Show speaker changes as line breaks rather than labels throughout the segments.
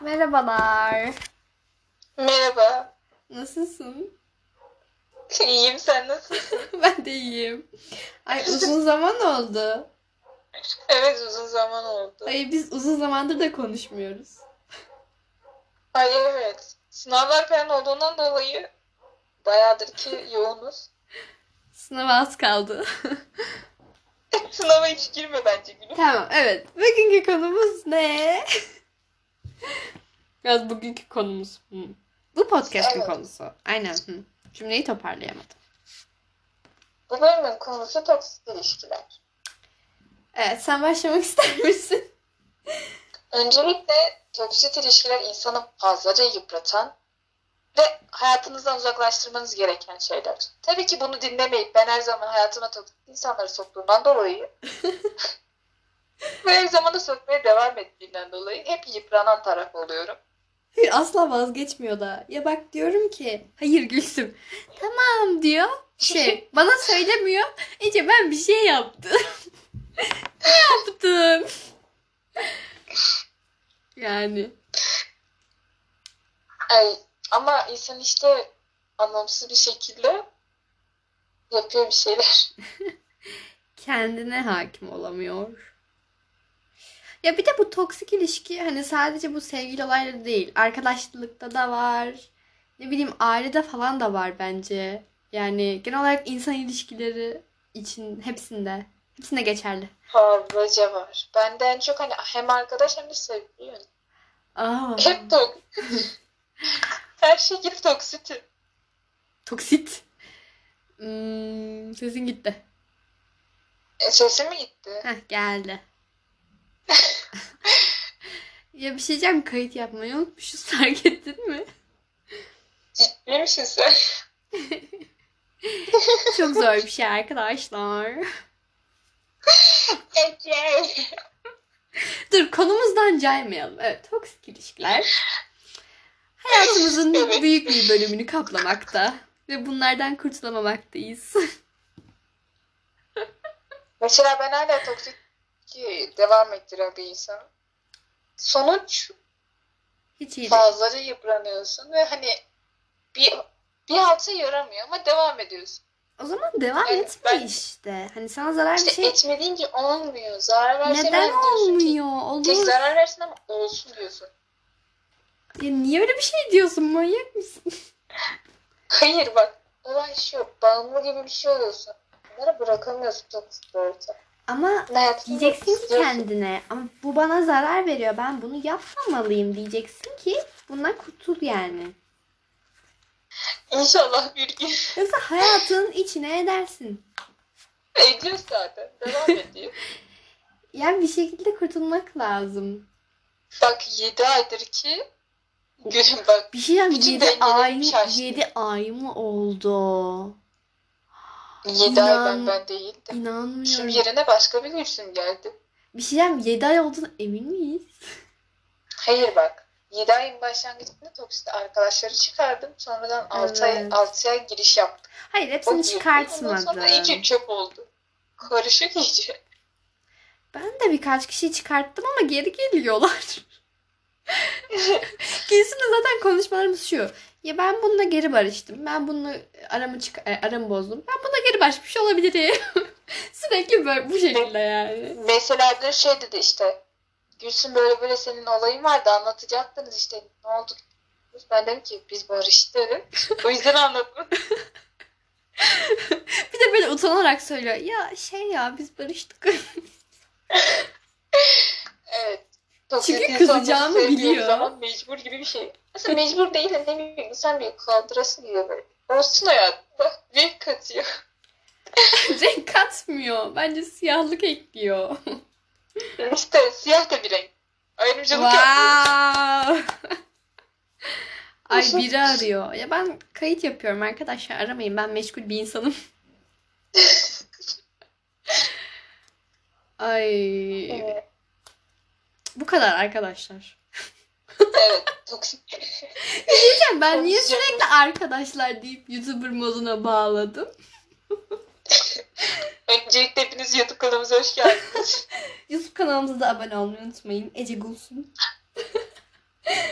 Merhabalar.
Merhaba.
Nasılsın?
İyiyim sen nasılsın?
Ben de iyiyim. Ay uzun zaman oldu.
Evet uzun zaman oldu.
Ay biz uzun zamandır da konuşmuyoruz.
Ay evet. Sınavlar falan olduğundan dolayı bayağıdır ki yoğunuz.
Sınava az kaldı.
Sınava hiç girme bence gülüm.
tamam evet. Bugünkü konumuz ne? Biraz bugünkü konumuz. Hı. Bu podcast'in
Evet.
konusu. Aynen. Hı. Cümleyi toparlayamadım.
Bu bölümün konusu toksik ilişkiler.
Evet sen başlamak ister misin?
Öncelikle toksik ilişkiler insanı fazlaca yıpratan ve hayatınızdan uzaklaştırmanız gereken şeyler. Tabii ki bunu dinlemeyip ben her zaman hayatıma toksik insanları soktuğumdan dolayı ve her zaman da sokmaya devam ettiğimden dolayı hep yıpranan taraf oluyorum.
Hayır asla vazgeçmiyor da. Ya bak diyorum ki hayır Gülsüm. Tamam diyor. Şey bana söylemiyor. İyice ben bir şey yaptım. ne yaptım? yani.
Ay, ama insan işte anlamsız bir şekilde yapıyor bir şeyler.
kendine hakim olamıyor. Ya bir de bu toksik ilişki hani sadece bu sevgili olayları değil. Arkadaşlıkta da var. Ne bileyim ailede falan da var bence. Yani genel olarak insan ilişkileri için hepsinde. Hepsinde geçerli.
Fazlaca var. Bende en çok hani hem arkadaş hem de sevgili yönü.
Aa,
Hep tok. Her
şey
şekilde toksitim.
toksit. Hmm, sesin gitti.
E, sesim mi gitti?
Heh, geldi. ya bir şey diyeceğim kayıt yapmayı unutmuşuz fark ettin mi?
Ciddi misin sen?
Çok zor bir şey arkadaşlar.
Ece.
Dur konumuzdan caymayalım. Evet toksik ilişkiler hayatımızın
Evet.
büyük bir bölümünü kaplamakta ve bunlardan kurtulamamaktayız.
Mesela ben hala toksik devam ettiren bir insanım. Sonuç
Hiç iyi değil.
fazlaca yıpranıyorsun ve hani bir bir halta yaramıyor ama devam ediyorsun.
O zaman devam
Evet,
etme
ben-
işte. Hani sana zarar bir
İşte
şey
etmediğin ki olmuyor. Zarar verse
neden
ver diyorsun ki.
olmuyor?
Tek
Olur.
zarar versin ama olsun diyorsun.
Ya niye öyle bir şey diyorsun manyak mısın?
Hayır bak olay şu bağımlı gibi bir şey oluyorsun. Bunları bırakamıyorsun toksik orta.
Ama
Hayatını
diyeceksin ki kendine ama bu bana zarar veriyor ben bunu yapmamalıyım diyeceksin ki bundan kurtul yani.
İnşallah bir gün
Yoksa hayatın içine edersin.
ediyor zaten. Devam ediyor.
Yani bir şekilde kurtulmak lazım.
bak 7 aydır ki gülüm bak
Bir şey diyeceğim.
Bütün
7
dengeleri
ay,
şaştı.
7 ay mı oldu?
7 ay ben
İnan-
ben değildim. Şimdi
İnanmıyorum.
yerine başka bir gülsüm geldi.
Bir şey diyeceğim. 7 ay olduğunu emin miyiz?
Hayır bak 7 ayın başlangıcında toksik arkadaşları çıkardım. Sonradan 6 ay
Evet.
6'ya giriş yaptım.
Hayır
O
hepsini
girdi, Ondan
çıkartmadım.
sonra iyice çöp oldu. Karışık iyice.
Ben de birkaç kişiyi çıkarttım ama geri geliyorlar. Kesin de zaten konuşmalarımız şu. Ya ben bununla geri barıştım. Ben bununla aramı çık e, aramı bozdum. Ben bununla geri barışmış olabilirim. Sürekli böyle bu şekilde yani.
Mesela dün şey dedi işte Gülsün böyle böyle senin olayın vardı anlatacaktınız işte ne oldu? Ben dedim ki biz barıştık. o yüzden anlatmadım.
Bir de böyle utanarak söylüyor. Ya şey ya biz barıştık.
Evet.
Çünkü
insanların
kızacağımı
sevdiği
biliyor.
Zaman mecbur gibi bir şey. Aslında mecbur değil de ne bileyim insan bir kaldırası gibi böyle. Olsun hayatında. Renk katıyor.
renk katmıyor. Bence siyahlık ekliyor.
işte siyah da bir renk. Ayrımcılık yapıyor.
Wow. Ay biri arıyor. Ya ben kayıt yapıyorum arkadaşlar. Aramayın. Ben meşgul bir insanım. Ay
Evet.
bu kadar arkadaşlar.
evet. Toksik.
Ya ben niye
Konuşacağım.
sürekli arkadaşlar deyip YouTuber moduna bağladım?
Öncelikle hepiniz YouTube kanalımıza hoş geldiniz.
YouTube kanalımıza da abone olmayı unutmayın. Ece Gulsun.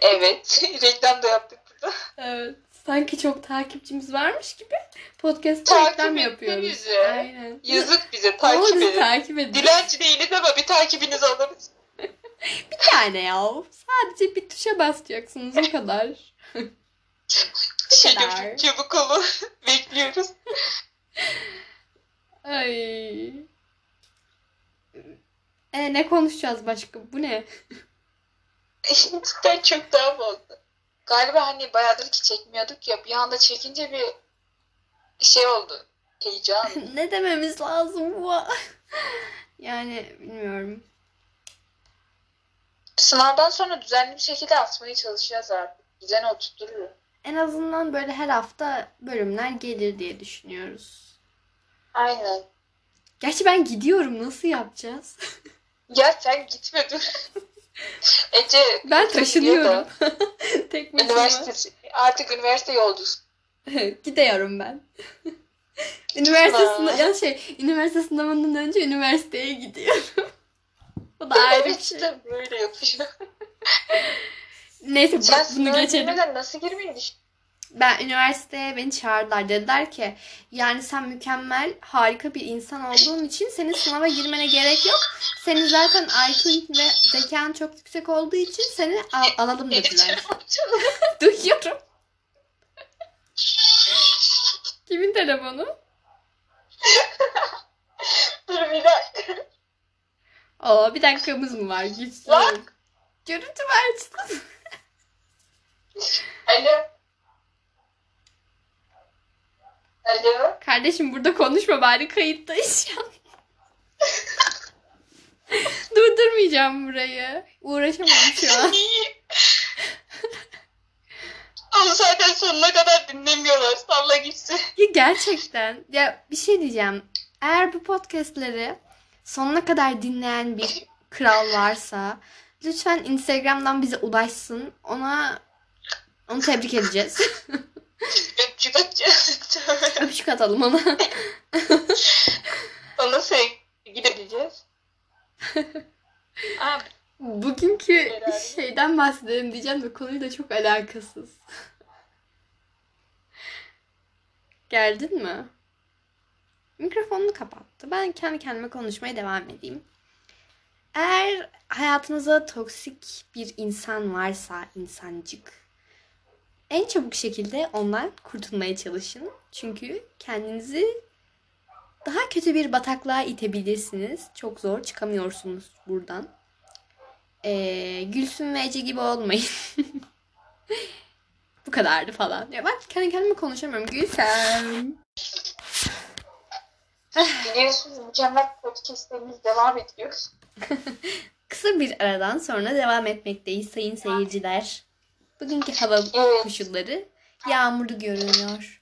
Evet. Reklam da yaptık burada.
Evet. Sanki çok takipçimiz varmış gibi podcast'ta
Takip
reklam
ettin
yapıyoruz.
bizi.
Aynen.
Yazık bize
Ama bizi
takip edin.
takip edin.
Dilenci değiliz ama bir takibinizi alırız.
Bir tane ya. Sadece bir tuşa basacaksınız o kadar.
Şey
kadar.
gömüşüm çabuk olun. Bekliyoruz.
Ay. E, ne konuşacağız başka? Bu ne?
Cidden çok daha fazla. Galiba hani bayağıdır ki çekmiyorduk ya bir anda çekince bir şey oldu. Heyecan.
ne dememiz lazım bu? yani bilmiyorum.
Sınavdan sonra düzenli bir şekilde atmaya çalışacağız artık. Düzene oturtturuyor.
En azından böyle her hafta bölümler gelir diye düşünüyoruz.
Aynen.
Gerçi ben gidiyorum. Nasıl yapacağız?
Ya sen gitme dur. Ece
Ben taşınıyorum.
da.
Tek başıma.
üniversite artık üniversite yolcusu.
Gidiyorum ben. Üniversite
Aa.
sınavı, ya şey, üniversite sınavından önce üniversiteye gidiyorum. Bu da ayrı bir
Evet
şey.
işte böyle yapıyor.
Neyse bu-
Sen
bunu
sınava
geçelim.
girmeden nasıl girmeyi düşünüyorsun?
Ben üniversiteye beni çağırdılar. Dediler ki yani sen mükemmel, harika bir insan olduğun için senin sınava girmene gerek yok. Senin zaten IQ'un ve zekan çok yüksek olduğu için seni al- alalım dediler. Duyuyorum. Kimin telefonu?
Dur bir dakika.
Oo bir dakikamız mı var? Gitsin.
Lan!
Görüntü mü açtın?
Alo. Alo.
Kardeşim burada konuşma bari kayıttayız şu an. Durdurmayacağım burayı. Uğraşamam şu an.
Onu zaten sonuna kadar dinlemiyorlar. Salla gitsin.
Ya gerçekten. Ya bir şey diyeceğim. Eğer bu podcastleri sonuna kadar dinleyen bir kral varsa lütfen Instagram'dan bize ulaşsın. Ona onu tebrik edeceğiz.
Öpücük atacağız.
Öpücük atalım ona.
Ona sevgi gideceğiz. Abi
Bugünkü
Beraber.
şeyden bahsedelim diyeceğim de konuyla çok alakasız. Geldin mi? Mikrofonunu kapattı. Ben kendi kendime konuşmaya devam edeyim. Eğer hayatınızda toksik bir insan varsa, insancık, en çabuk şekilde ondan kurtulmaya çalışın. Çünkü kendinizi daha kötü bir bataklığa itebilirsiniz. Çok zor çıkamıyorsunuz buradan. Ee, Gülsün ve Ece gibi olmayın. Bu kadardı falan. Ya bak kendi kendime konuşamıyorum. Gülsem.
biliyorsunuz mükemmel podcastlerimiz devam ediyor.
Kısa bir aradan sonra devam etmekteyiz sayın seyirciler. Bugünkü hava
Evet.
koşulları yağmurlu görünüyor.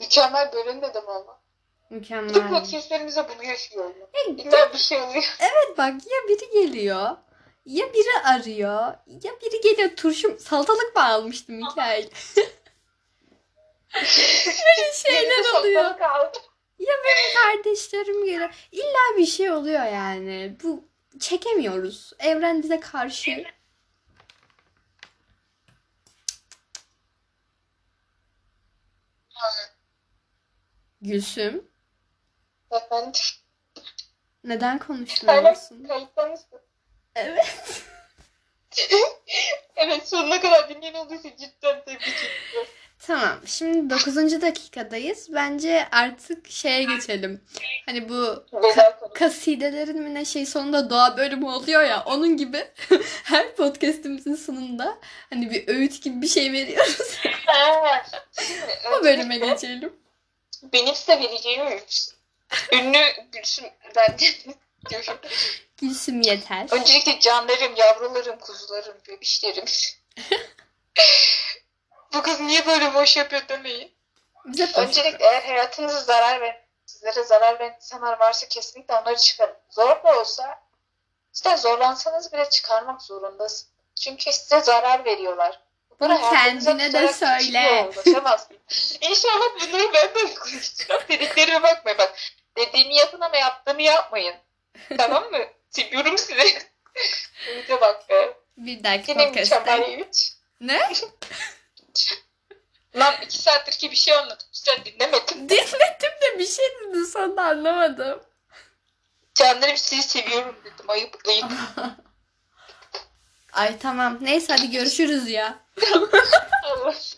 Mükemmel bölüm dedim ama. Tüm
Mükemmel.
podcastlerimize bunu yaşıyorum.
Ya
İlla bir şey oluyor.
bak ya biri geliyor ya biri arıyor ya biri geliyor turşum salatalık mı almıştım Mikael? Böyle şeyler oluyor.
Saplama kaldı.
Ya benim kardeşlerim geliyor. İlla bir şey oluyor yani. Bu çekemiyoruz. Evren bize karşı. Gülsüm,
Efendim.
neden konuşmuyorsun?
Kayıtta mısın?
Evet.
Evet sonuna kadar dinleyen olduysa cidden tebrik ediyorum.
Tamam. Şimdi 9. dakikadayız. Bence artık şeye geçelim. Hani bu
Veda konu.
kasidelerin mi ne şey sonunda doğa bölümü oluyor ya onun gibi her podcastimizin sonunda hani bir öğüt gibi bir şey veriyoruz.
Ha.
o bölüme geçelim.
Ee, Benim size vereceğim öğüt. Ünlü Gülsüm ben diyorum.
Gülsüm yeter.
Öncelikle canlarım, yavrularım, kuzularım, bebişlerim. Bu kız niye böyle boş yapıyor demeyin.
Bize boş-
Öncelikle eğer hayatınıza zarar veren, sizlere zarar veren insanlar varsa kesinlikle onları çıkarın. Zor da olsa, işte zorlansanız bile çıkarmak zorundasın. Çünkü size zarar veriyorlar. Bunları
Bunu
hayatınıza
kendine de
tutarak hiçbir
söyle.
yere ulaşamazsın. İnşallah bunları ben de uygulayacağım. Dediklerime bakmayın. Bak dediğimi yapın ama yaptığımı yapmayın. Tamam mı? Seviyorum sizi.
Bir dahaki
Yine
podcast'te.
mükemmel üç.
Ne?
Lan iki saattir ki bir şey anlatıp sen dinlemedin.
Dinledim de bir şey dedin sonra anlamadım.
Canlarım sizi seviyorum dedim. Ayıp ayıp.
Ay tamam. Neyse hadi görüşürüz ya.
Allah.